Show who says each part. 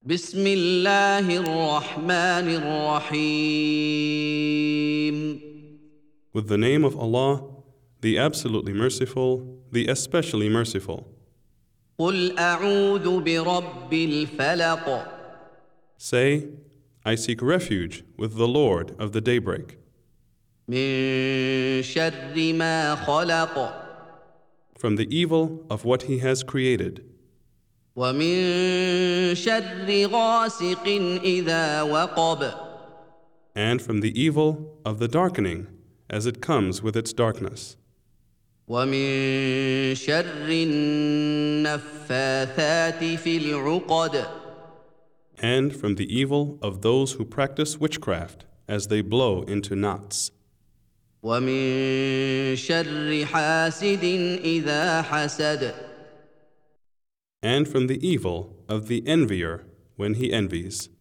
Speaker 1: بسم الله الرحمن الرحيم
Speaker 2: With the name of Allah, the absolutely merciful, the especially merciful.
Speaker 1: قل أعوذ برب الفلق
Speaker 2: Say, I seek refuge with the Lord of the daybreak,
Speaker 1: من شر ما خلق
Speaker 2: from the evil of what He has created,
Speaker 1: ومن شر غاسق إذا وقب
Speaker 2: and from the evil of the darkening as it comes with its darkness,
Speaker 1: ومن شر النفاثات في العقد
Speaker 2: and from the evil of those who practice witchcraft as they blow into knots,
Speaker 1: ومن شر حاسد إذا حسد
Speaker 2: and from the evil of the envier when he envies.